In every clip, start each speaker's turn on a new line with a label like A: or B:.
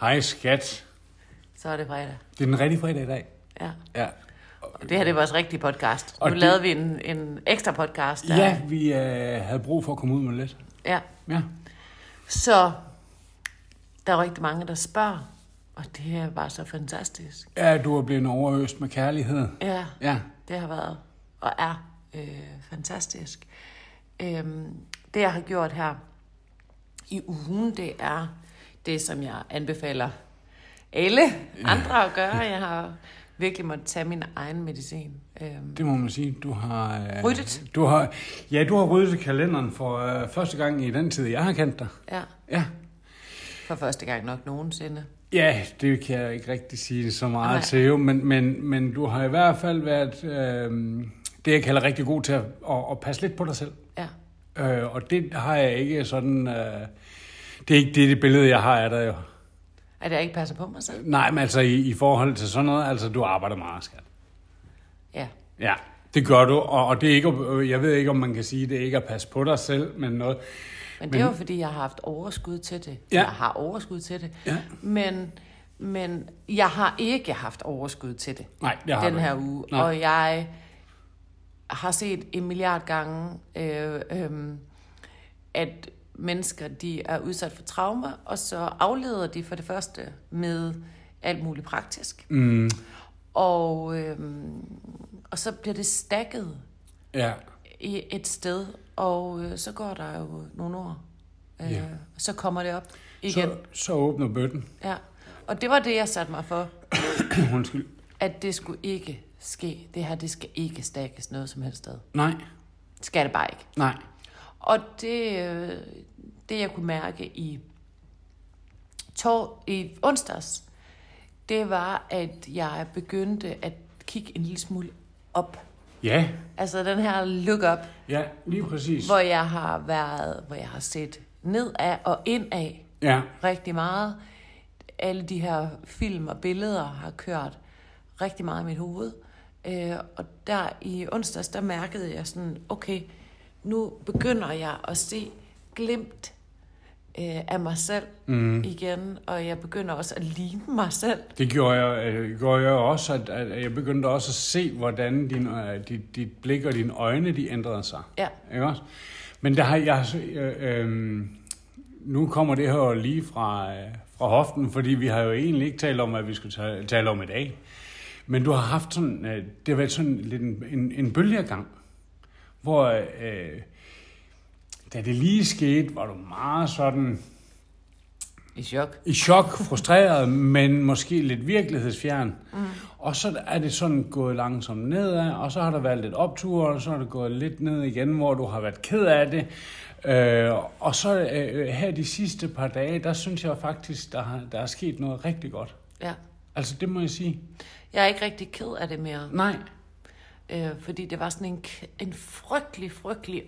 A: Hej skat.
B: Så er det fredag.
A: Det er den rigtige fredag i dag.
B: Ja.
A: Ja.
B: Og det her, det er vores rigtige podcast.
A: Og
B: nu
A: det-
B: lavede vi en, en ekstra podcast. der-
A: Ja, vi øh, havde brug for at komme ud med lidt.
B: ja.
A: Ja.
B: Så der er rigtig mange, der spørger. Og det her var så fantastisk.
A: Ja, du er blevet overøst med kærlighed.
B: Ja,
A: Ja.
B: det har været og er øh, fantastisk. Øhm, det, jeg har gjort her i ugen, det er det, som jeg anbefaler alle andre at gøre. Jeg har virkelig måttet tage min egen medicin. Øhm,
A: Det må man sige. Du har... Øh,
B: Ryddet.
A: Du har, ja, du har ryddet kalenderen for øh, første gang i den tid, jeg har kendt dig.
B: ja.
A: Ja.
B: For første gang nok nogensinde.
A: Ja, det kan jeg ikke rigtig sige så meget
B: Nej.
A: til, jo, men, men, men du har i hvert fald været øh, det, jeg kalder rigtig god til at, at, at passe lidt på dig selv.
B: Ja.
A: Øh, og det har jeg ikke sådan... Øh, det er ikke det, det billede, jeg har af dig, jo.
B: At jeg ikke passer på mig selv.
A: Nej, men altså i, i forhold til sådan noget, altså du arbejder meget, skat.
B: Ja.
A: Ja, det gør du, og, og det er ikke, øh, jeg ved ikke, om man kan sige, det er ikke at passe på dig selv, men noget.
B: Men det er jo, fordi jeg har haft overskud til det.
A: Ja.
B: Jeg har overskud til det.
A: Ja.
B: Men, men jeg har ikke haft overskud til det
A: Nej, det har
B: den
A: du
B: her
A: ikke.
B: uge.
A: Nej.
B: Og jeg har set en milliard gange, øh, øh, at mennesker de er udsat for traumer, og så afleder de for det første med alt muligt praktisk. Mm. Og, øh, og så bliver det stakket
A: Ja,
B: i et sted, og øh, så går der jo nogle år. Øh,
A: Ja.
B: Så kommer det op igen.
A: så,
B: Så...
A: så åbner bøtten.
B: Ja. Og det var det, jeg satte mig for,
A: Undskyld.
B: at det skulle ikke ske. Det her, det skal ikke stakkes noget som helst sted.
A: Nej,
B: Det Skal det bare ikke.
A: nej.
B: Og det, øh, det jeg kunne mærke i, tor- i onsdags, det var, at jeg begyndte at kigge en lille smule op.
A: Ja,
B: Altså den her look up,
A: ja, lige præcis.
B: hvor jeg har været, hvor jeg har set nedad og indad
A: Ja,
B: rigtig meget. Alle de her film og billeder har kørt rigtig meget i mit hoved. Øh, og der i onsdags, der mærkede jeg sådan, okay, nu begynder jeg at se glimt øh, af mig selv mm. igen, og jeg begynder også at ligne mig selv.
A: det gjorde jeg, øh, gjorde jeg også, at, at jeg begyndte også at se, hvordan din, øh, dit, dit blik og dine øjne, de ændrede sig.
B: Ja,
A: Ikke også? Men der har jeg... Øh, øh, nu kommer det her jo lige fra, øh, fra hoften, fordi vi har jo egentlig ikke talt om, hvad vi skulle ta- tale om i dag. Men du har haft sådan... Øh, det har været sådan lidt en, en, en bølgegang, hvor... Øh, da det lige skete, var du meget sådan
B: i chok.
A: i chok, frustreret, men måske lidt virkelighedsfjern. Mm. Og så er det sådan gået langsomt nedad, og så har der været lidt optur, og så er det gået lidt ned igen, hvor du har været ked af det. Øh, og så øh, her de sidste par dage, der synes jeg faktisk, der, har, der er sket noget rigtig godt.
B: Ja.
A: Altså det må jeg sige.
B: Jeg er ikke rigtig ked af det mere.
A: Nej.
B: Øh, fordi det var sådan en, k- en frygtelig, frygtelig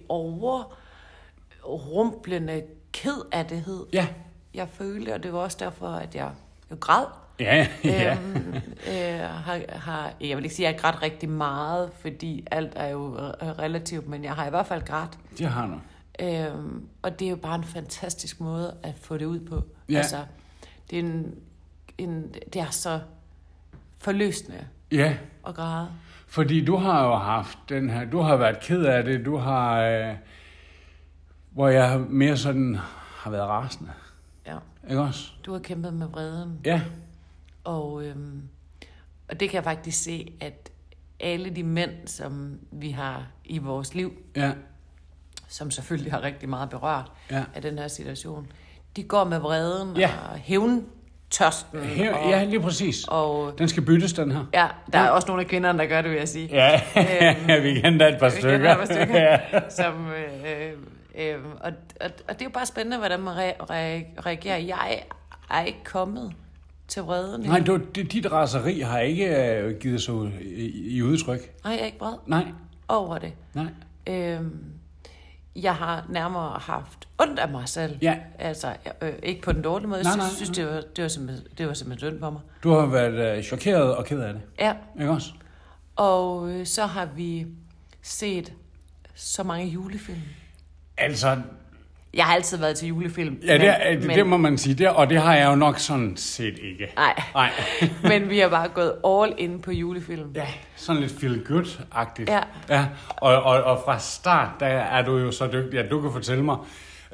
B: overrumplende ked af det hed,
A: Ja.
B: jeg følte, og det var også derfor, at jeg jo græd.
A: Ja, ja.
B: Øhm, øh, har, har, jeg vil ikke sige, at jeg græd rigtig meget, fordi alt er jo øh, relativt, men jeg har i hvert fald grædt.
A: Det har du.
B: Øhm, og det er jo bare en fantastisk måde at få det ud på.
A: Ja.
B: Altså, det, er en, en, det er så forløsende
A: Ja.
B: at græde.
A: Fordi du har jo haft den her, du har været ked af det, du har, øh, hvor jeg mere sådan har været rasende.
B: Ja.
A: Ikke også?
B: Du har kæmpet med vreden.
A: Ja,
B: Og, øhm, og det kan jeg faktisk se, at alle de mænd, som vi har i vores liv,
A: ja,
B: som selvfølgelig har rigtig meget berørt
A: Ja.
B: af den her situation, de går med vreden
A: Ja.
B: og hævntørsten.
A: Her,
B: og,
A: ja, lige præcis.
B: og
A: Den skal byttes, den her.
B: ja, der er også nogle af kvinderne, der gør det, vil jeg sige.
A: Ja, vi kender et par
B: Vi
A: stykker.
B: kender et par stykker.
A: ja.
B: Som, øh, øh, øh, og, og, og det er jo bare spændende, hvordan man re- re- reagerer. Jeg er ikke kommet til vreden.
A: Nej,
B: endnu.
A: du, det- dit raseri har ikke øh, givet sig ud i, i udtryk.
B: Nej, jeg er ikke vred
A: Nej,
B: over det.
A: nej.
B: Øhm, jeg har nærmere haft ondt af mig selv.
A: Ja.
B: Altså, øh, ikke på den dårlige måde.
A: Nej,
B: jeg
A: nej,
B: synes, synes det, var, det, var simpelthen, det var simpelthen synd for mig.
A: Du har været øh, chokeret og ked af det.
B: Ja,
A: Ikke også?
B: og øh, så har vi set så mange julefilm.
A: Altså,
B: Jeg har altid været til julefilm.
A: Ja, det, er, det, det må man sige, det, og det har jeg jo nok sådan set ikke.
B: Nej.
A: Nej.
B: men vi har bare gået all in på julefilm.
A: Ja, sådan lidt feel good-agtigt.
B: Ja.
A: ja. Og, og, og fra start, der er du jo så dygtig, at du kan fortælle mig...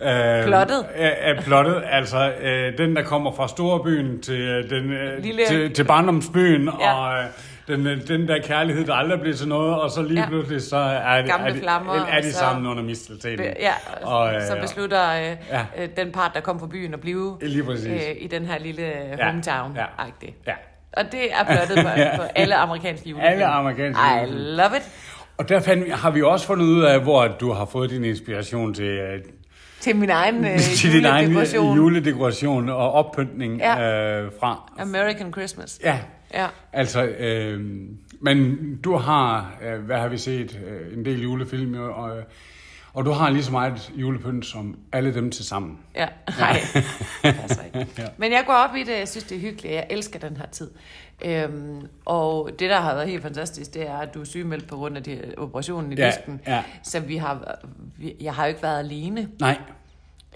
A: Øh,
B: Plottet.
A: Øh, øh, plottet, altså øh, den, der kommer fra storbyen til, øh, den, øh,
B: Lille-
A: til, til barndomsbyen,
B: Ja.
A: og øh, den, øh, den der kærlighed, der aldrig blev til noget, og så lige
B: Ja.
A: ja. pludselig, så er, det-
B: Gamle
A: er, de,
B: flammer,
A: er de
B: og så-
A: sammen under misteltenen.
B: Be- Ja, og, så beslutter øh,
A: ja.
B: øh, den part, der kom fra byen, at blive øh,
A: Lige præcis.
B: i den her lille
A: Ja,
B: hometown-agtig.
A: Ja.
B: Og det er plottet på,
A: Ja.
B: på alle amerikanske julefilm.
A: Alle amerikanske
B: I
A: julefilm.
B: love it.
A: Og der fandt, vi- har vi også fundet ud af, hvor du har fået din inspiration til, øh,
B: Til min egen øh,
A: til din egen
B: juledekoration.
A: juledekoration og oppyntning
B: Ja.
A: øh, fra.
B: American Christmas.
A: Ja,
B: Ja.
A: altså, øh, men du har, øh, hvad har vi set, øh, en del julefilm, og, øh, og du har lige så meget julepynt som alle dem til sammen.
B: Ja, nej. Altså ikke. Men jeg går op i det, jeg synes, det er hyggeligt, jeg elsker den her tid. Øhm, og det, der har været helt fantastisk, det er, at du er sygemeldt på grund af de, operationen i
A: Ja,
B: lysken.
A: ja.
B: Så vi har, vi, jeg har jo ikke været alene. Øhm,
A: Nej,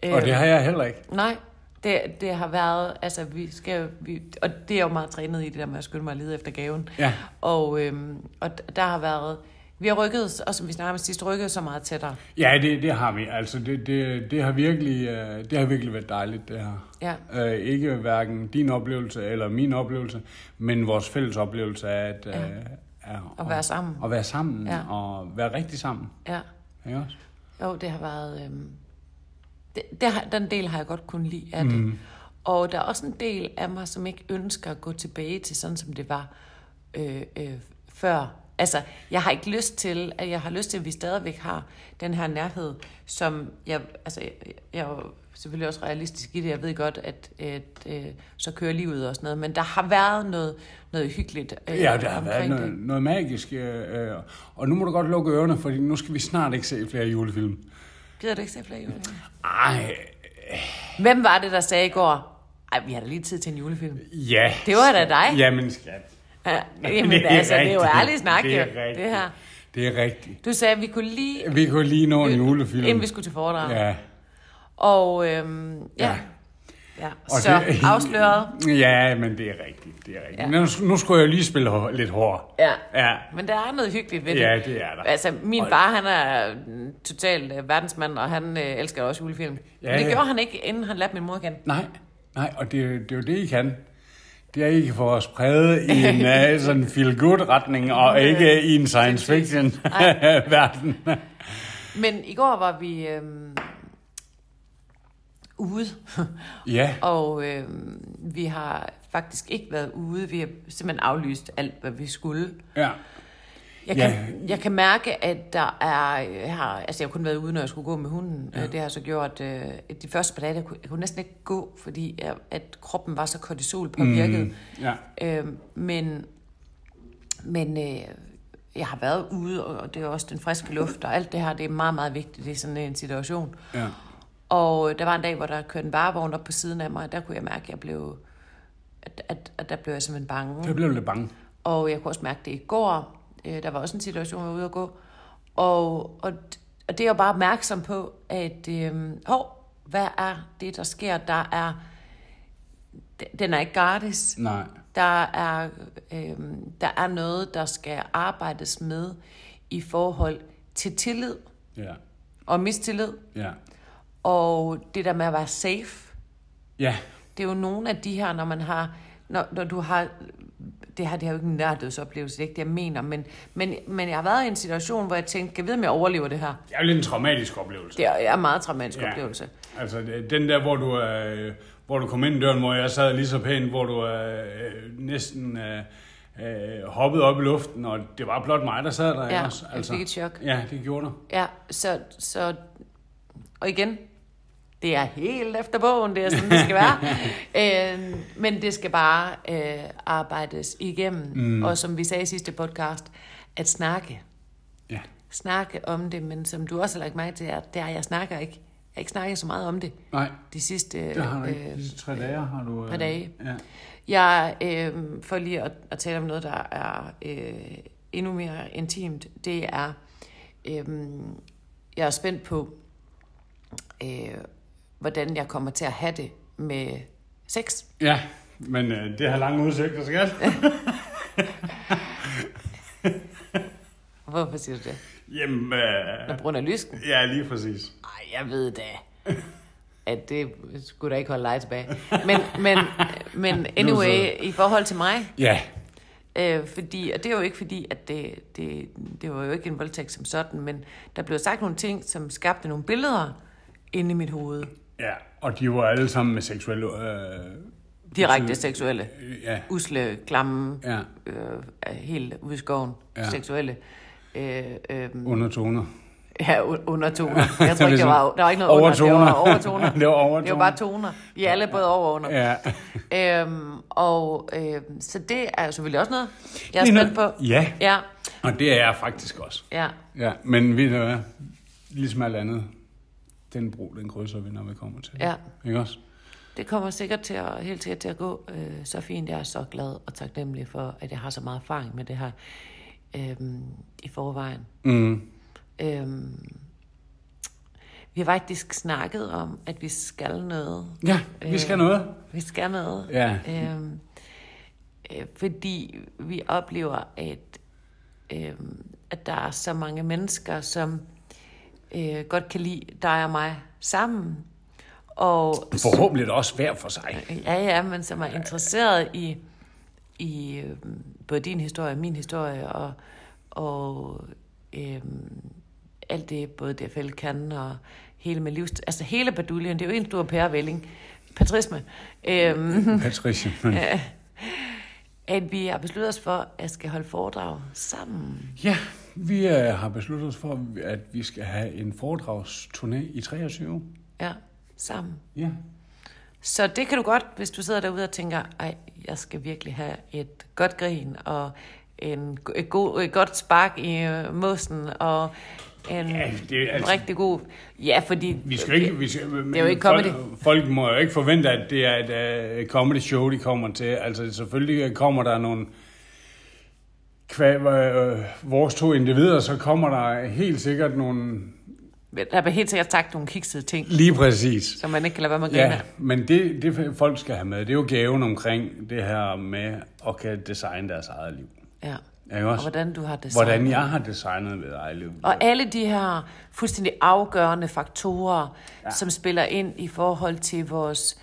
B: Øh.
A: og det har jeg heller ikke.
B: Nej, det, det har været, altså vi skal, vi, og det er jeg jo meget trænet i, det der med at skynde mig at lede efter gaven.
A: Ja.
B: Og, øhm, og d- der har været, vi har rykket, os, og som vi snakkede om sidst, rykket så meget tættere.
A: Ja, det, det har vi. Altså, det, det, det, har virkelig, øh, det har virkelig været dejligt, det her.
B: Ja.
A: Øh, ikke hverken din oplevelse eller min oplevelse, men vores fælles oplevelse af at, ja. øh, at,
B: At være sammen.
A: At være sammen
B: Ja.
A: ja. og være rigtig sammen.
B: Ja,
A: Ikke også?
B: jo, det har været, øhm, det, det har, den del har jeg godt kunnet lide af det. Mm. Og der er også en del af mig, som ikke ønsker at gå tilbage til sådan, som det var øh, øh, før. Altså, jeg har ikke lyst til, at jeg har lyst til, at vi stadigvæk har den her nærhed, som jeg, altså, jeg, jeg er jo selvfølgelig også realistisk i det. Jeg ved godt, at, at øh, så kører livet og sådan noget, men der har været noget, noget hyggeligt øh,
A: Ja, der har været
B: omkring
A: noget,
B: det.
A: noget magisk. Øh, øh, og nu må du godt lukke ørerne, for nu skal vi snart ikke se flere julefilm.
B: Gider du ikke se flere julefilm?
A: Ej,
B: Hvem var det, der sagde i går, ej, vi har da lige tid til en julefilm?
A: ja.
B: Det var da dig.
A: Jamen, skat.
B: Ja, Jamen, det er altså, det er jo
A: rigtigt.
B: ærlig snak,
A: det er
B: jo,
A: rigtigt.
B: det her.
A: Det er rigtigt.
B: Du sagde, at vi kunne lige,
A: Vi kunne lige nå en julefilm.
B: inden Øh, vi skulle til foredrag.
A: Ja.
B: Og øhm, ja. ja.
A: Ja.
B: ja.
A: Og
B: Så det... afsløret.
A: Ja, men det er rigtigt, det er rigtigt.
B: Ja.
A: Ja. Nu, nu skulle jeg lige spille hår, lidt hård.
B: Ja.
A: Ja.
B: Men der er noget hyggeligt ved det.
A: Ja, det er der.
B: Altså, min
A: Og-
B: far, han er mm, totalt øh, verdensmand, og han øh, elsker også julefilm. Ja,
A: Ja,
B: Men det
A: ja.
B: gjorde han ikke, inden han lærte min mor igen.
A: Nej, nej, og det, er jo- det er jo det, I kan. Det er, I kan få os præget i en øh, sådan feel-good-retning, og ikke i en science fiction-verden.
B: Men i går var vi øhm, ude.
A: ja,
B: Og øh, vi har faktisk ikke været ude. Vi har simpelthen aflyst alt, hvad vi skulle.
A: ja.
B: Jeg kan,
A: Ja.
B: jeg kan mærke, at der er... Jeg har, altså, jeg har kun været ude, når jeg skulle gå med hunden. Ja. Det har så gjort... Øh, at de første par dage, jeg kunne, jeg kunne næsten ikke gå, fordi jeg, at kroppen var så kortisolpåvirket. Mm.
A: ja.
B: Øh, men men øh, jeg har været ude, og og det er også den friske luft, og alt det her, det er meget, meget vigtigt i sådan en situation.
A: ja.
B: Og øh, der var en dag, hvor der kørte en varevogn op på siden af mig, og der kunne jeg mærke, at jeg blev, at, at, at der blev jeg simpelthen bange.
A: Jeg blev lidt bange.
B: Og jeg kunne også mærke det i går. Øh, Der var også en situation, hvor jeg var ude at gå. Og, og, og det er jeg bare opmærksom på, at øhm, hov, hvad er det, der sker? Der er, d- den er ikke gratis.
A: Nej.
B: Der er, øhm, der er noget, der skal arbejdes med i forhold til tillid
A: Ja,
B: og mistillid.
A: ja.
B: Og det der med at være safe,
A: Ja,
B: det er jo nogle af de her, når man har, når, når du har, det her det er jo ikke en nærdødsoplevelse, det er ikke det, jeg mener, men, men, men jeg har været i en situation, hvor jeg tænkte, kan jeg vide, om jeg overlever det her?
A: det er jo lidt en traumatisk oplevelse.
B: Det er, er en meget traumatisk
A: Ja.
B: oplevelse.
A: Altså det- den der, hvor du, øh, hvor du kom ind i døren, hvor jeg sad lige så pænt, hvor du øh, øh, næsten øh, øh, hoppede op i luften, og det var blot mig, der sad der. ikke også?
B: jeg fik et chok.
A: Ja, det gjorde du.
B: Ja, så, så, og igen, det er helt efter bogen, det er sådan, det skal være. øh, men det skal bare øh, arbejdes igennem. Mm. Og som vi sagde i sidste podcast, at snakke.
A: Ja.
B: snakke om det, men som du også har lagt mærke til, er, det er, at jeg snakker ikke. Jeg har ikke snakket så meget om det
A: Nej,
B: de sidste...
A: det har du ikke.
B: øh,
A: Disse tre dage har du... Øh,
B: par dage.
A: Ja.
B: jeg, øh, for lige at, at tale om noget, der er øh, endnu mere intimt, det er, øh, jeg er spændt på, øh, hvordan jeg kommer til at have det med sex.
A: Ja, men øh, det har lange udsigter, skat.
B: Hvorfor siger du det?
A: Jamen,
B: På
A: øh,
B: grund af lysken?
A: ja, lige præcis.
B: Ej, jeg ved da, at det skulle da ikke holde dig tilbage. Men, men, men anyway, i forhold til mig,
A: Ja,
B: øh, fordi, og det er jo ikke fordi, at det, det, det var jo ikke en voldtægt som sådan, men der blev sagt nogle ting, som skabte nogle billeder inde i mit hoved.
A: ja. Og de var alle sammen med seksuelle... Øh,
B: Direkte seksuelle,
A: øh, ja,
B: usle, klamme,
A: ja,
B: øh, er helt ude i skoven,
A: Ja.
B: ja. seksuelle. Øh, øh,
A: undertoner.
B: ja, u- undertoner. Jeg tror
A: Det er
B: ikke, der var, der var ikke noget under, det var overtoner.
A: det var overtoner.
B: Det var bare toner. Vi er alle både over og under.
A: Ja.
B: Øhm, og øhm, så det er jo selvfølgelig også noget, jeg er
A: Det er
B: spændt på.
A: noget- Ja,
B: Ja,
A: og det er jeg faktisk også.
B: ja.
A: Ja, men ved du hvad? Ligesom alt andet, den bro, den krydser vi, når vi kommer til. det.
B: Ja.
A: Ikke også?
B: Det kommer sikkert til at, helt sikkert til at gå øh, så fint. Jeg er så glad og taknemmelig for, at jeg har så meget erfaring med det her øhm, i forvejen.
A: Mm.
B: Øhm, vi har faktisk snakket om, at vi skal noget.
A: Ja, vi skal noget.
B: Vi skal noget.
A: Ja,
B: Øhm, øh, fordi vi oplever, at, øhm, at der er så mange mennesker, som øh, godt kan lide dig og mig sammen. Og
A: forhåbentlig er det også hver for sig.
B: ja, ja, men som er interesseret i, i øhm, både din historie og min historie, og, og øhm, alt det, både DFL kan, og hele med livs... Altså hele baduljen, det er jo en stor pærevælling. Patrisme. Øhm,
A: Patricia, men...
B: at vi har besluttet os for, at skal holde foredrag sammen.
A: Ja, vi øh, har besluttet os for, at vi skal have en foredragsturné i 23.
B: Ja, sammen.
A: Ja.
B: Så det kan du godt, hvis du sidder derude og tænker, ej, jeg skal virkelig have et godt grin, og en, et, god, et godt spark i øh, mosen, og en,
A: Ja,
B: ja,
A: det er
B: en
A: altså-
B: rigtig god... Ja, fordi...
A: Vi skal ikke... Vi skal, det
B: er jo ikke
A: Folk, folk må jo ikke forvente, at det er et uh, comedy show, de kommer til. Altså, selvfølgelig kommer der nogle... Kva, øh, vores to individer, så kommer der helt sikkert nogle...
B: Der bliver helt sikkert sagt nogle kiksede ting,
A: Lige præcis.
B: som man ikke kan lade være med at grine
A: Ja,
B: af.
A: men det, det folk skal have med, det er jo gaven omkring det her med at kan designe deres eget liv.
B: ja.
A: Ikke
B: Og
A: også?
B: hvordan du har det
A: Hvordan jeg har designet mit eget liv.
B: Og alle de her fuldstændig afgørende faktorer, ja. som spiller ind i forhold til vores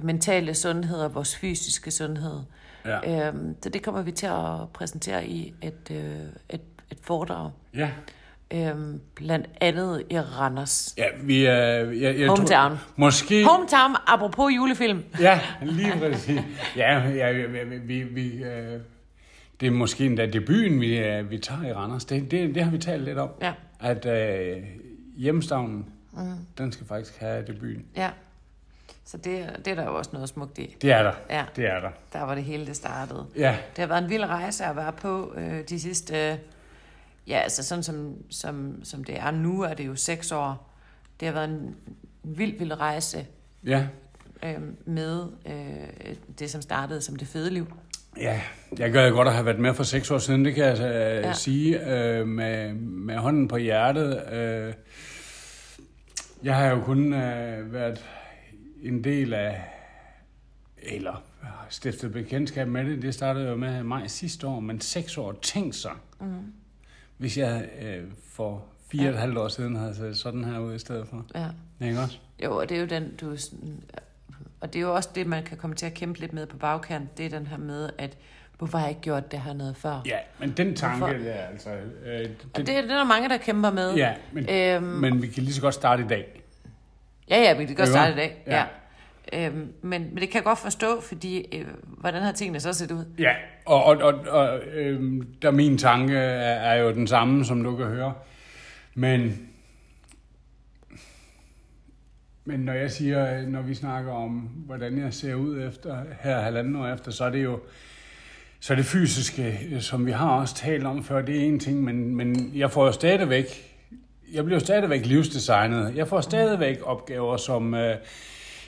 B: mentale sundhed og vores fysiske sundhed.
A: Ja.
B: Øhm, så det kommer vi til at præsentere i et, øh, et, et foredrag.
A: Ja.
B: Øhm, blandt andet i Randers.
A: Ja, vi er... Jeg, jeg
B: Hometown.
A: Tror, måske...
B: Hometown, apropos julefilm.
A: Ja, lige præcis. Ja, ja, ja vi, vi, vi, øh, det er måske endda debuten, vi, øh, vi tager i Randers. Det, det, det har vi talt lidt om.
B: Ja.
A: At øh, hjemstavnen, mm. den skal faktisk have debuten.
B: Ja. Så det, det er der jo også noget smukt i.
A: Det er der.
B: Ja.
A: Det er der.
B: Der var det hele, det startede.
A: Ja,
B: Det har været en vild rejse at være på øh, de sidste... Øh, ja, altså sådan som, som, som det er nu, er det jo seks år. Det har været en vild, vild rejse
A: ja,
B: øh, med øh, det, som startede som det fede liv.
A: ja. Jeg gad godt at have været med for seks år siden, det kan jeg øh, ja.
B: Ja.
A: sige øh, med, med hånden på hjertet. Øh, jeg har jo kun øh, været en del af, eller har stiftet bekendtskab med det, det startede jo med mig sidste år, men seks år, tænk så, mm.
B: Mhm.
A: hvis jeg øh, for fire og et halvt år siden havde set sådan her ud i stedet for.
B: Ja.
A: Ikke også?
B: Jo, og det er jo den, du... sådan- Og det er jo også det, man kan komme til at kæmpe lidt med på bagkant. Det er den her med, at hvorfor har jeg ikke gjort det her noget før?
A: Ja, men den tanke
B: Hvorfor?
A: der, altså... Øh,
B: Og det, det er der mange, der kæmper med.
A: ja, men,
B: Øhm,
A: men vi kan lige så godt starte i dag.
B: Ja, ja, vi kan godt
A: Øver.
B: starte i dag.
A: Ja.
B: Ja. Øhm, men, men det kan jeg godt forstå, fordi øh, hvordan har tingene så set ud?
A: Ja, og, og, og, og øhm, der min tanke er, er jo den samme, som du kan høre. Men, men når jeg siger, øh, når vi snakker om, hvordan jeg ser ud efter her halvanden år efter, så er det jo så er det fysiske, øh, som vi har også talt om før, det er en ting, men, men jeg får jo stadigvæk, jeg bliver jo stadigvæk livsdesignet. Jeg får stadigvæk opgaver, som øh,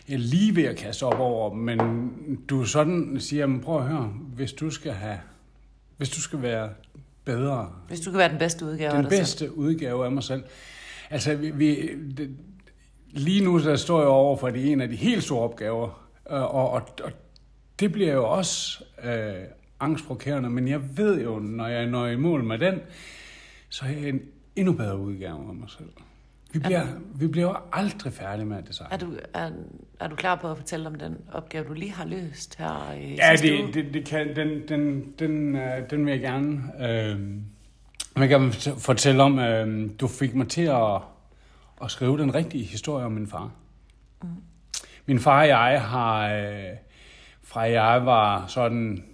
A: jeg er lige ved at kaste op over, men du er sådan siger, jamen prøv at høre, hvis du skal have, hvis du skal være bedre,
B: Hvis du kan være den bedste udgave af
A: den
B: dig selv.
A: bedste udgave af mig selv. Altså, vi, vi, det, lige nu der står jeg over for det en af de helt store opgaver, øh, og, og, og det bliver jo også øh, angstprovokerende, men jeg ved jo, når jeg når i mål med den, så er jeg en endnu bedre udgave af mig selv. Vi bliver, vi bliver jo aldrig færdige med at designe.
B: Er du, er, er du klar på at fortælle om den opgave, du lige har løst her i
A: Ja,
B: sidste uge?
A: det, det, det kan, den, den, den, øh, den vil jeg gerne, øh, jeg gerne fortælle om. Øh, du fik mig til at, at skrive den rigtige historie om min far. Mm. Min far og jeg har, øh, fra jeg var sådan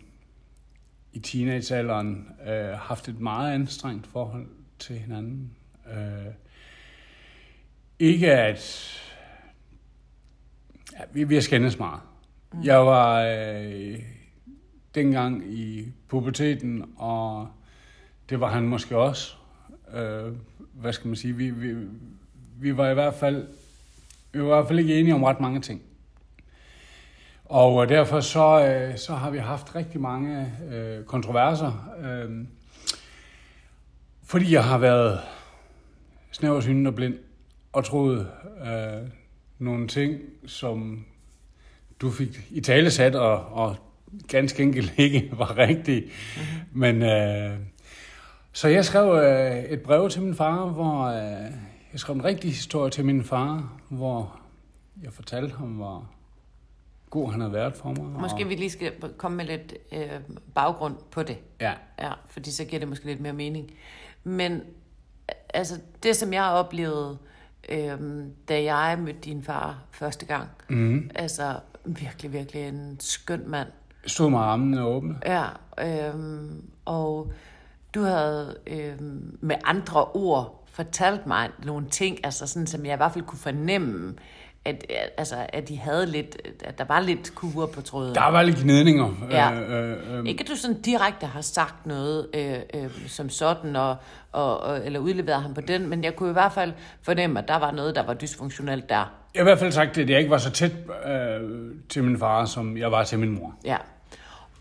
A: i teenagealderen, øh, haft et meget anstrengt forhold til hinanden. Øh, ikke at... Ja, vi, vi har skændes meget. Mm. Jeg var øh, dengang i puberteten, og det var han måske også. Øh, hvad skal man sige? Vi, vi, vi var i hvert fald vi var i hvert fald ikke enige om ret mange ting. Og øh, derfor så, øh, så har vi haft rigtig mange øh, kontroverser. Øh, fordi jeg har været snæversynet og blind og troet øh, nogle ting, som du fik i tale sat, og, og ganske enkelt ikke var rigtige.
B: Mhm.
A: Men, øh, så jeg skrev øh, et brev til min far, hvor øh, jeg skrev en rigtig historie til min far, hvor jeg fortalte ham, hvor god han havde været for mig.
B: Måske
A: og,
B: vi lige skal komme med lidt øh, baggrund på det.
A: Ja,
B: Ja, fordi så giver det måske lidt mere mening. Men altså, det som jeg oplevede, øhm, da jeg mødte din far første gang,
A: Mhm.
B: mm. altså virkelig, virkelig en skøn mand.
A: stod med armene åbne.
B: Ja, øhm, og du havde øhm, med andre ord fortalt mig nogle ting, altså sådan, som jeg i hvert fald kunne fornemme, at, altså, at de havde lidt, at der var lidt kurer på tråden.
A: Der var lidt gnidninger.
B: Ja.
A: Øh, øh, øh,
B: Ikke at du sådan direkte har sagt noget øh, øh, som sådan, og, og, og, eller udleveret ham på den, men jeg kunne i hvert fald fornemme, at der var noget, der var dysfunktionelt der.
A: Jeg har i hvert fald sagt, at jeg ikke var så tæt øh, til min far, som jeg var til min mor.
B: Ja.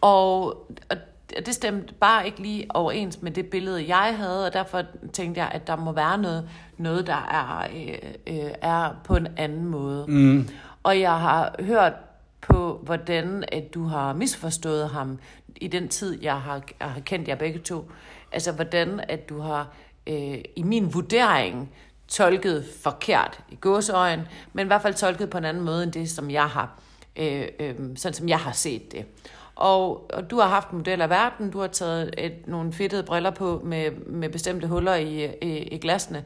B: Og, og det stemte bare ikke lige overens med det billede, jeg havde, og derfor tænkte jeg, at der må være noget, noget der er, øh, øh, er på en anden måde. Mm. Og jeg har hørt på, hvordan at du har misforstået ham i den tid, jeg har, jeg har kendt jer begge to. Altså, hvordan at du har øh, i min vurdering tolket forkert i gåseøjen, men i hvert fald tolket på en anden måde end det, som jeg har øh, øh, sådan som jeg har set det. Og, og du har haft en model af verden, du har taget et, nogle fedtede briller på med, med bestemte huller i, i, i glasene,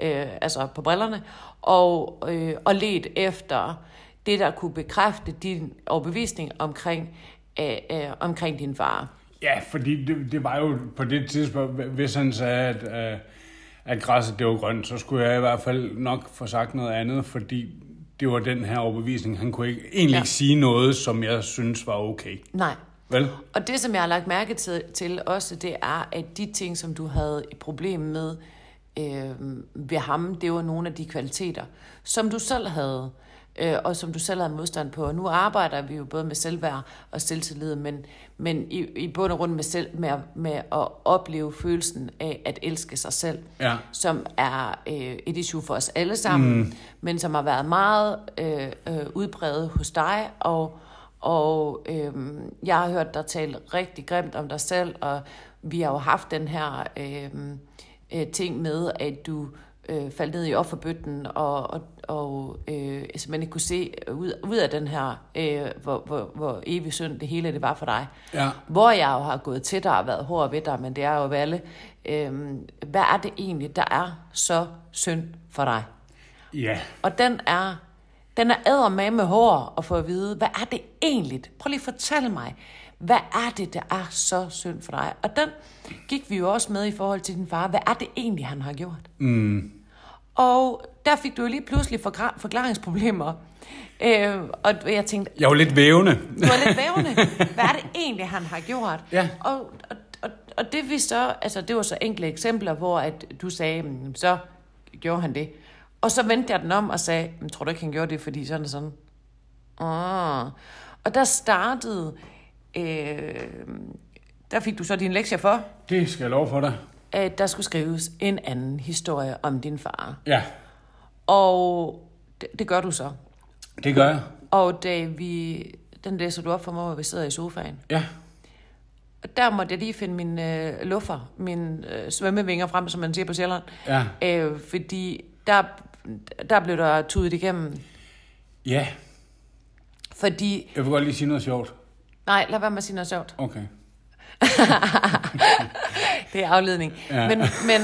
B: øh, altså på brillerne, og, øh, og let efter det, der kunne bekræfte din overbevisning omkring, øh, øh, omkring din far.
A: Ja, fordi det, det var jo på det tidspunkt, hvis han sagde, at, øh, at græsset det var grønt, så skulle jeg i hvert fald nok få sagt noget andet, fordi det var den her overbevisning. Han kunne ikke, egentlig
B: Ja.
A: ja. ikke sige noget, som jeg synes var okay.
B: Nej,
A: Vel?
B: Og det, som jeg har lagt mærke til, til også, det er, at de ting, som du havde et problem med øh, ved ham, det var nogle af de kvaliteter, som du selv havde, øh, og som du selv havde modstand på. Og nu arbejder vi jo både med selvværd og selvtillid, men, men i, i bund og grund med, selv, med, at- med at opleve følelsen af at elske sig selv
A: Ja.
B: som er øh, et issue for os alle sammen, mm. men som har været meget øh, øh, udbredet hos dig, og, og øh, jeg har hørt dig tale rigtig grimt om dig selv, og vi har jo haft den her øh, øh, ting med, at du øh, faldt ned i offerbøtten, og, og, og øh, simpelthen ikke kunne se ud, ud af den her, øh, hvor, hvor, hvor evig synd det hele det var for dig.
A: Ja.
B: Hvor jeg jo har gået til dig og været hård ved dig, men det er jo ved alle. Øhm, hvad er det egentlig, der er så synd for dig?
A: Ja.
B: Og den er, den er ædermame med hård at få at vide, hvad er det egentlig? Prøv lige at fortælle mig, hvad er det, der er så synd for dig? Og den gik vi jo også med i forhold til din far. Hvad er det egentlig, han har gjort? Mm. Og der fik du jo lige pludselig forgra- forklaringsproblemer. Øh, og jeg tænkte,
A: Jeg var lidt vævende.
B: du er lidt vævende. Hvad er det egentlig, han har gjort?
A: Ja.
B: Og, og, og, og det vi så, altså det var så enkle eksempler, hvor at du sagde, "Mm, så gjorde han det. Og så vendte jeg den om og sagde, "Men tror du ikke, han gjorde det, fordi sådan og sådan? Ah. Og der startede, øh, der fik du så din lektie for,
A: Det skal jeg love for dig.
B: at der skulle skrives en anden historie om din far.
A: Ja.
B: Og Det, det gør du så.
A: Det gør jeg.
B: Og da vi, den læser du op for mig, hvor vi sidder i sofaen.
A: Ja.
B: Og der måtte jeg lige finde min øh, luffer, min øh, svømmevinger frem, som man siger på Sjælland.
A: Ja.
B: Øh, fordi der, der blev der tudet igennem.
A: Ja.
B: Fordi,
A: Jeg vil godt lige sige noget sjovt.
B: nej, lad være med at sige noget sjovt.
A: Okay.
B: Det er afledning.
A: Ja.
B: Ja. Men, men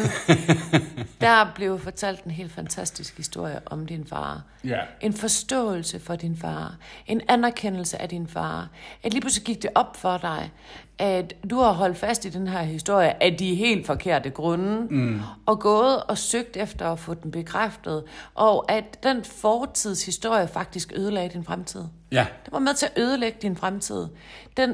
B: der blev fortalt en helt fantastisk historie om din far.
A: Ja.
B: En forståelse for din far. En anerkendelse af din far. At lige pludselig gik det op for dig, at du har holdt fast i den her historie af de helt forkerte grunde, mm. og gået og søgt efter at få den bekræftet, og at den fortidshistorie faktisk ødelagde din fremtid.
A: Ja.
B: Den var med til at ødelægge din fremtid. Den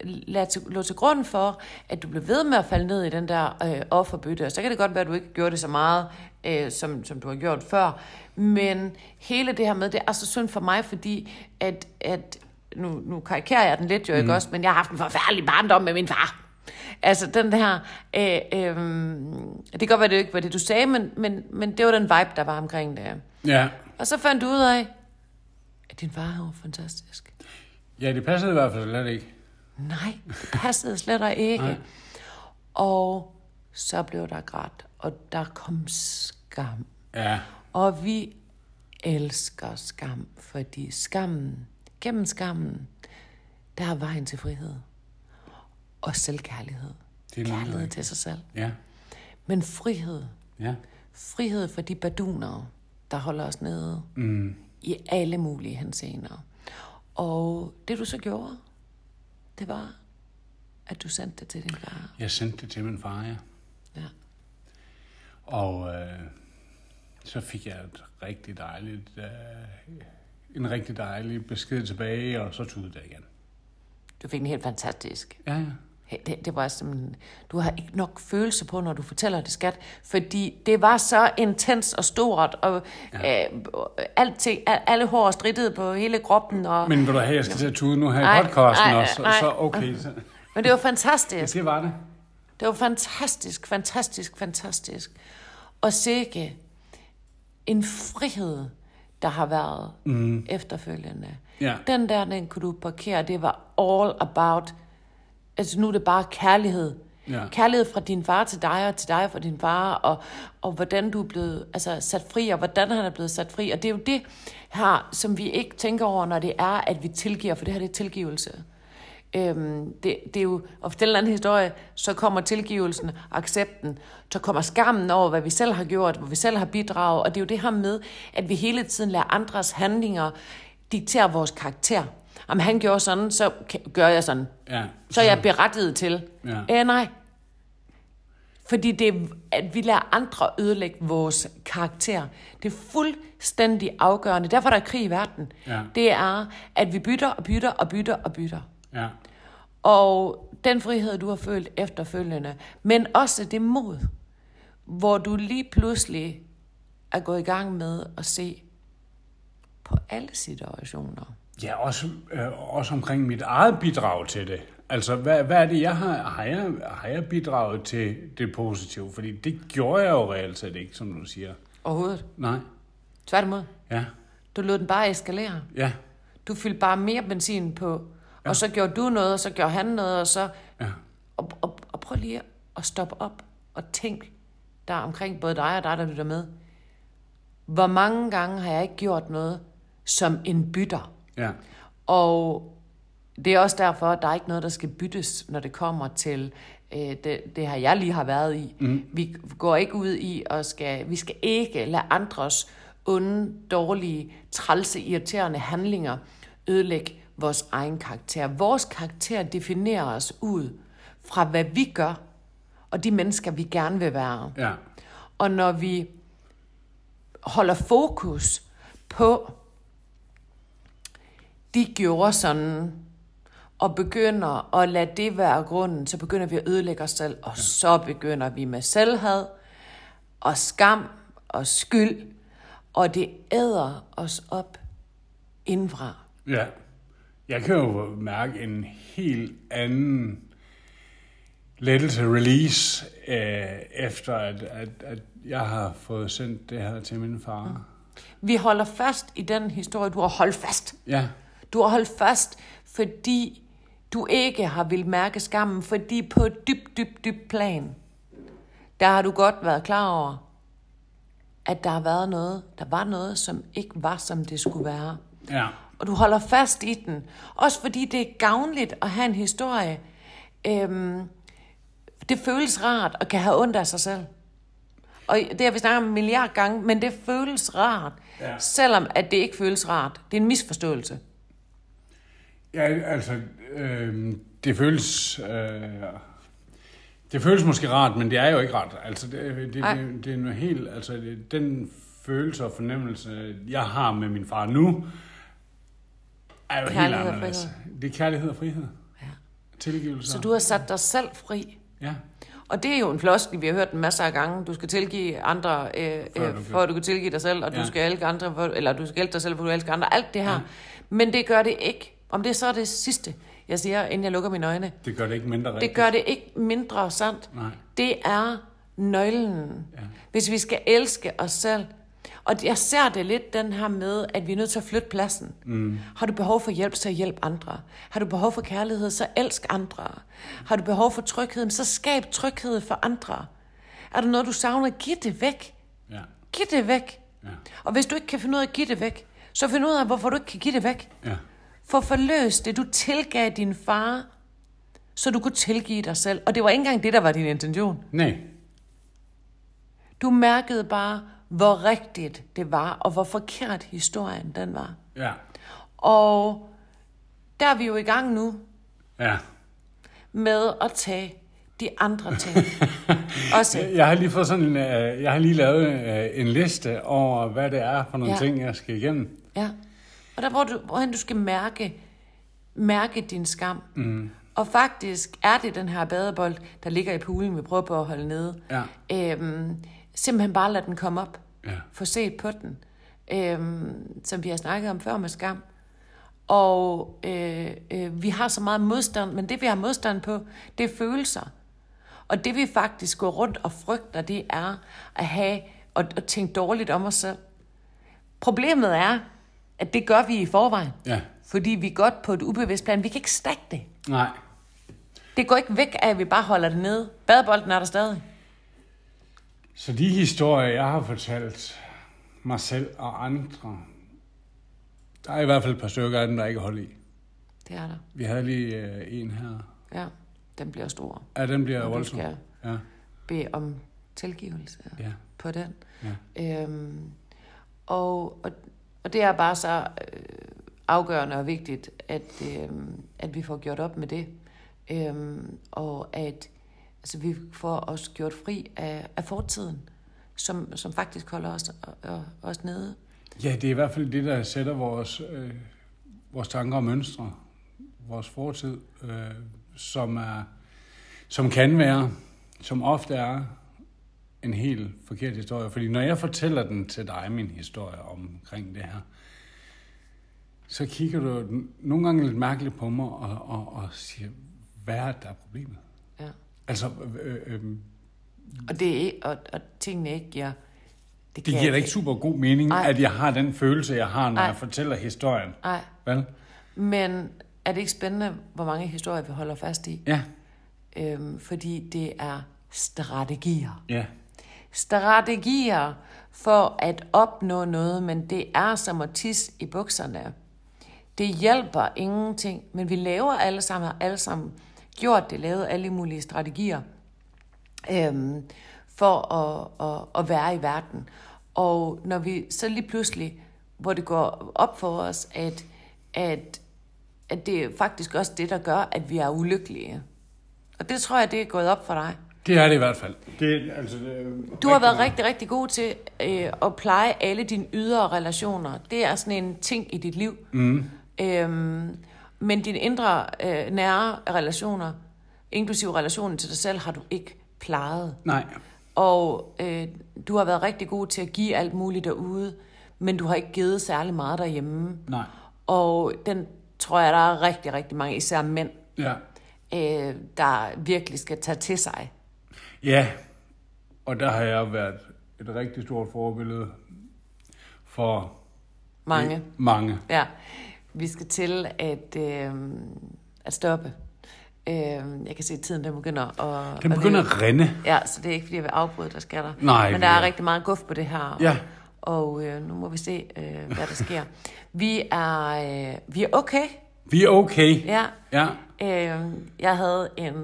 B: øh, lagde til, lå til grund for, at du blev ved med at falde ned i den der øh, offerbytte. Og så kan det godt være, at du ikke gjorde det så meget, øh, som, som du har gjort før. Men hele det her med, det er så synd for mig, fordi at, at nu, nu karikerer jeg den lidt jo ikke også, men jeg har haft en forfærdelig barndom med min far. Altså den her, øh, øh, det kan godt være, det ikke var det, du sagde, men, men, men det var den vibe, der var omkring det.
A: Ja.
B: Og så fandt du ud af, at din far var fantastisk.
A: Ja, det passede i hvert fald slet ikke.
B: Nej, det passede slet ikke.
A: Nej.
B: Nej. Og så blev der grædt, og der kom skam.
A: Ja.
B: Og vi elsker skam, fordi skammen, gennem skammen, der er vejen til frihed. Og selvkærlighed.
A: Det er nemlig
B: Kærlighed
A: rigtigt.
B: til sig selv.
A: Ja.
B: Men frihed.
A: Ja.
B: Frihed for de baduner, der holder os nede. Mm. I alle mulige henseender. Og det du så gjorde, det var, at du sendte det til din far.
A: Jeg sendte det til min far, ja.
B: Ja.
A: Og øh, så fik jeg et rigtig dejligt, øh, en rigtig dejlig besked tilbage, og så tudede jeg igen.
B: Du fik en helt fantastisk.
A: Ja, ja.
B: Det, det var simpelthen, du har ikke nok følelse på, når du fortæller det, skat. Fordi det var så intens og stort, og ja. øh, alting, al- alle hår strittede på hele kroppen. Og, men,
A: Men vil du have, jeg skal til at tude nu her i
B: Ej,
A: podcasten
B: ej,
A: også? Og
B: ej.
A: så okay, så,
B: men det var fantastisk.
A: det var det.
B: Det var fantastisk, fantastisk, fantastisk. Og sikke en frihed, der har været mm. efterfølgende.
A: Ja.
B: Den der, den kunne du parkere, det var all about, altså nu er det bare kærlighed.
A: Ja.
B: Kærlighed fra din far til dig, og til dig fra din far, og, og hvordan du er blevet altså, sat fri, og hvordan han er blevet sat fri. Og det er jo det her, som vi ikke tænker over, når det er, at vi tilgiver, for det her det er tilgivelse. Øhm, det, det er jo, og for den eller anden historie, så kommer tilgivelsen, accepten, så kommer skammen over, hvad vi selv har gjort, hvor vi selv har bidraget, og det er jo det her med, at vi hele tiden lader andres handlinger diktere vores karakter. Om han gjorde sådan, så kan- gør jeg sådan.
A: Ja.
B: Så er jeg berettiget til.
A: Ja.
B: Øh, nej. Fordi det er, at vi lader andre ødelægge vores karakter. Det er fuldstændig afgørende. Derfor er der krig i verden.
A: Ja.
B: Det er, at vi bytter og bytter og bytter og bytter.
A: Ja.
B: Og den frihed, du har følt efterfølgende, men også det mod, hvor du lige pludselig er gået i gang med at se på alle situationer.
A: Ja, også, øh, også omkring mit eget bidrag til det. Altså, hvad, hvad er det, jeg har, har jeg, har jeg bidraget til det positive? Fordi det gjorde jeg jo reelt set ikke, som du siger.
B: Overhovedet.
A: Nej.
B: Tværtimod.
A: Ja.
B: Du lod den bare eskalere.
A: Ja.
B: Du fyldte bare mere benzin på. Ja. Og så gjorde du noget, og så gjorde han noget, og så...
A: Ja.
B: Og, og, og prøv lige at stoppe op og tænk der er omkring både dig og dig, der lytter med. Hvor mange gange har jeg ikke gjort noget som en bytter?
A: Ja.
B: Og det er også derfor, at der er ikke noget, der skal byttes, når det kommer til øh, det, det her, jeg lige har været i. Mm. Vi går ikke ud i, og skal, vi skal ikke lade andres onde, dårlige, trælse, irriterende handlinger ødelægge vores egen karakter. Vores karakter definerer os ud fra, hvad vi gør, og de mennesker, vi gerne vil være.
A: Ja.
B: Og når vi holder fokus på, de gjorde sådan, og begynder at lade det være grunden, så begynder vi at ødelægge os selv, og så begynder vi med selvhad, og skam, og skyld, og det æder os op indfra.
A: Ja. Jeg kan jo mærke en helt anden lettelse release, øh, efter at, at, at jeg har fået sendt det her til min far.
B: Vi holder fast i den historie, du har holdt fast.
A: Ja,
B: Du har holdt fast, fordi du ikke har vil mærke skammen, fordi på et dybt, dybt, dybt plan, der har du godt været klar over, at der har været noget, der var noget, som ikke var, som det skulle være.
A: ja,
B: Og du holder fast i den. Også fordi det er gavnligt at have en historie. Øhm, det føles rart og kan have ondt af sig selv. Og det har vi snakket om en milliard gange, men det føles rart.
A: Ja.
B: Selvom at det ikke føles rart. Det er en misforståelse.
A: ja altså, øh, det føles... Øh, det føles måske rart, men det er jo ikke rart. Altså, det, det,
B: Ej.
A: det, det er noget helt... Altså, det, den følelse og fornemmelse, jeg har med min far nu, er jo
B: Kærlighed og
A: helt anderledes. Det er kærlighed og frihed.
B: Ja.
A: Tilgivelse.
B: Så du har sat dig selv fri.
A: Ja,
B: Og det er jo en floskel, vi har hørt den masser af gange. Du skal tilgive andre, øh,
A: Før
B: øh,
A: du
B: for at du kan tilgive dig selv, og ja.
A: Ja.
B: du skal elske andre, for, eller du skal elske dig selv, for du elsker andre. Alt det her. Ja. Men det gør det ikke. Om det så er det sidste, jeg siger, inden jeg lukker mine øjne.
A: det gør det ikke mindre rigtigt.
B: Det gør det ikke mindre sandt.
A: Nej.
B: Det er nøglen.
A: Ja.
B: Hvis vi skal elske os selv. Og jeg ser det lidt den her med, at vi er nødt til at flytte pladsen. Mm. Har du behov for hjælp, så hjælp andre. Har du behov for kærlighed, så elsk andre. Har du behov for trygheden, så skab tryghed for andre. Er der noget, du savner, giv det væk.
A: Ja,
B: Giv det væk.
A: Ja.
B: Og hvis du ikke kan finde ud af at give det væk, så find ud af, hvorfor du ikke kan give det væk.
A: ja,
B: For forløs det, du tilgav din far, så du kunne tilgive dig selv. Og det var ikke engang det, der var din intention.
A: nej,
B: Du mærkede bare, hvor rigtigt det var, og hvor forkert historien den var.
A: ja,
B: Og der er vi jo i gang nu
A: ja.
B: med at tage de andre ting. Også,
A: Jeg har lige fået sådan en, øh, jeg har lige lavet øh, en liste over, hvad det er for nogle
B: Ja.
A: ja. ting, jeg skal igennem.
B: ja. Og der, hvor du, hvorhen du skal mærke, mærke din skam. Mm. Og faktisk er det den her badebold, der ligger i poolen, vi prøver på at holde nede.
A: Ja,
B: Øhm, simpelthen bare lade den komme op.
A: ja,
B: Få set på den. Øhm, som vi har snakket om før med skam. Og øh, øh, vi har så meget modstand, men det vi har modstand på, det er følelser. Og det vi faktisk går rundt og frygter, det er at have og, og tænke dårligt om os selv. Problemet er, at det gør vi i forvejen.
A: ja.
B: Fordi vi er godt på et ubevidst plan. Vi kan ikke stakke det.
A: Nej.
B: Det går ikke væk af, at vi bare holder det nede. Badebolden er der stadig.
A: Så de historier, jeg har fortalt mig selv og andre, der er i hvert fald et par stykker af dem, der ikke holder i.
B: Det er der.
A: Vi havde lige øh, en her.
B: Ja, den bliver stor.
A: Ja, den bliver
B: Og du
A: voldsom.
B: skal
A: Ja,
B: bede om tilgivelse
A: ja,
B: på den.
A: ja.
B: Øhm, og, og, og det er bare så øh, afgørende og vigtigt, at, øhm, at vi får gjort op med det. Øhm, og at altså, vi får os gjort fri af, af fortiden, som, som faktisk holder os, og, og, os nede.
A: Ja, det er i hvert fald det, der sætter vores, øh, vores tanker og mønstre, vores fortid, øh, som, er, som kan være, som ofte er en helt forkert historie. Fordi når jeg fortæller den til dig, min historie omkring det her, så kigger du n- nogle gange lidt mærkeligt på mig og, og, og siger, hvad er det, der er problemet?
B: Ja.
A: Altså, øh, øh,
B: Og, det er, ikke- og, og tingene ikke giver...
A: det giver da ikke super god mening,
B: Ej.
A: Ej. at jeg har den følelse, jeg har, når
B: Ej.
A: Ej. jeg fortæller historien.
B: Nej,
A: Vel?
B: men er det ikke spændende, hvor mange historier vi holder fast i?
A: Ja.
B: Øhm, fordi det er strategier.
A: Ja.
B: Strategier for at opnå noget, men det er som at tisse i bukserne. Det hjælper ingenting, men vi laver alle sammen, har alle sammen gjort det, lavet alle mulige strategier øhm, for at, at, at være i verden. Og når vi så lige pludselig, hvor det går op for os, at, at, at det er faktisk også det, der gør, at vi er ulykkelige. Og det tror jeg, det er gået op for dig.
A: Det er det i hvert fald. Det, altså, det, er
B: Du har været
A: meget.
B: rigtig, rigtig god til øh, at pleje alle dine ydre relationer. Det er sådan en ting i dit liv. Mm. Øhm, men dine indre øh, nære relationer, inklusive relationen til dig selv, har du ikke plejet.
A: Nej,
B: Og øh, du har været rigtig god til at give alt muligt derude, men du har ikke givet særlig meget derhjemme.
A: nej.
B: Og den tror jeg, der er rigtig, rigtig mange, især mænd,
A: Ja.
B: øh, der virkelig skal tage til sig.
A: ja, og der har jeg været et rigtig stort forbillede for
B: Mange.
A: mange.
B: Ja, vi skal til at, øh, at stoppe. Øh, jeg kan se, at tiden den begynder at...
A: Den begynder
B: at...
A: at rinde.
B: Ja, så det er ikke, fordi jeg vil afbryde dig, skatter.
A: Nej,
B: Men
A: vi
B: der er
A: er-
B: rigtig meget guf på det her.
A: Ja.
B: Og øh, nu må vi se, øh, hvad der sker. vi, er, øh, vi er okay.
A: Vi er okay.
B: Ja.
A: Ja.
B: Øh, jeg havde en,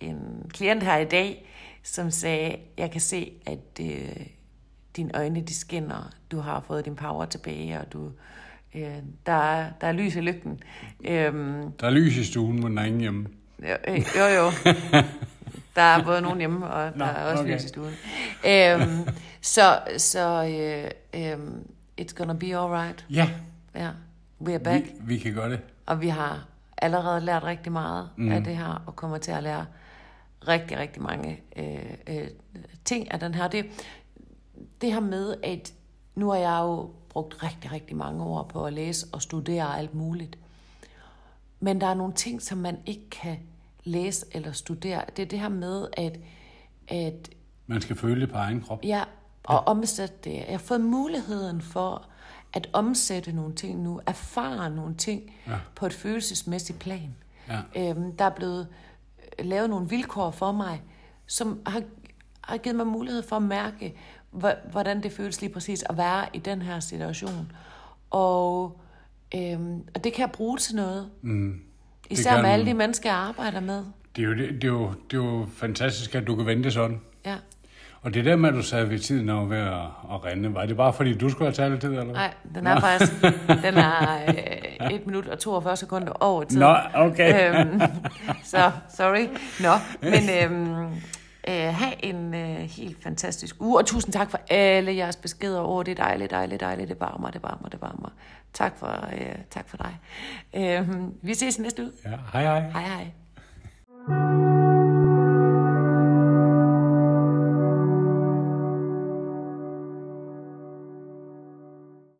B: en klient her i dag, som sagde, jeg kan se, at øh, dine øjne de skinner. Du har fået din power tilbage, og du, øh, der, er, der er lys i lygten. Øh,
A: Der er lys i stuen, men der er ingen hjemme.
B: jo, øh, jo, jo. Der er både nogen hjemme, og der
A: Nå,
B: er også
A: okay.
B: lys i stuen. Øhm, så så øh, øh, it's gonna be alright.
A: Ja,
B: Ja, we're back.
A: vi, vi kan gøre det.
B: Og vi har allerede lært rigtig meget mm. af det her, og kommer til at lære rigtig, rigtig mange øh, øh, ting af den her. Det, det her med, at nu har jeg jo brugt rigtig, rigtig mange år på at læse og studere og alt muligt. Men der er nogle ting, som man ikke kan læse eller studere. Det er det her med, at, at
A: Man skal føle det på egen krop.
B: Ja, og omsætte det. Jeg har fået muligheden for at omsætte nogle ting nu, erfare nogle ting ja. på et følelsesmæssigt plan.
A: Ja.
B: Øhm, der er blevet øh, lavet nogle vilkår for mig, som har, har givet mig mulighed for at mærke, hvor- hvordan det føles lige præcis at være i den her situation. Og, øhm, og det kan jeg bruge til noget. Mm. Især
A: kan-
B: med alle de mennesker, jeg arbejder med.
A: Det er, jo, det, det, er jo, det er jo fantastisk, at du kan vente sådan.
B: Ja.
A: Og det der med, at du sad ved tiden og var ved at, at rinde, var det bare fordi, du skulle have taletid, eller hvad?
B: Nej, den er faktisk den er øh, 1 minut og 42 sekunder over tid.
A: Nå, okay.
B: Øhm, så, sorry. Nå, men øhm, øh, have en øh, helt fantastisk uge, og tusind tak for alle jeres beskeder. Åh, det er dejligt, dejligt, dejligt. Det varmer, det varmer, det varmer. Tak for, øh, tak for dig. Øhm, vi ses i næste uge.
A: Ja, hej hej.
B: Hej, hej.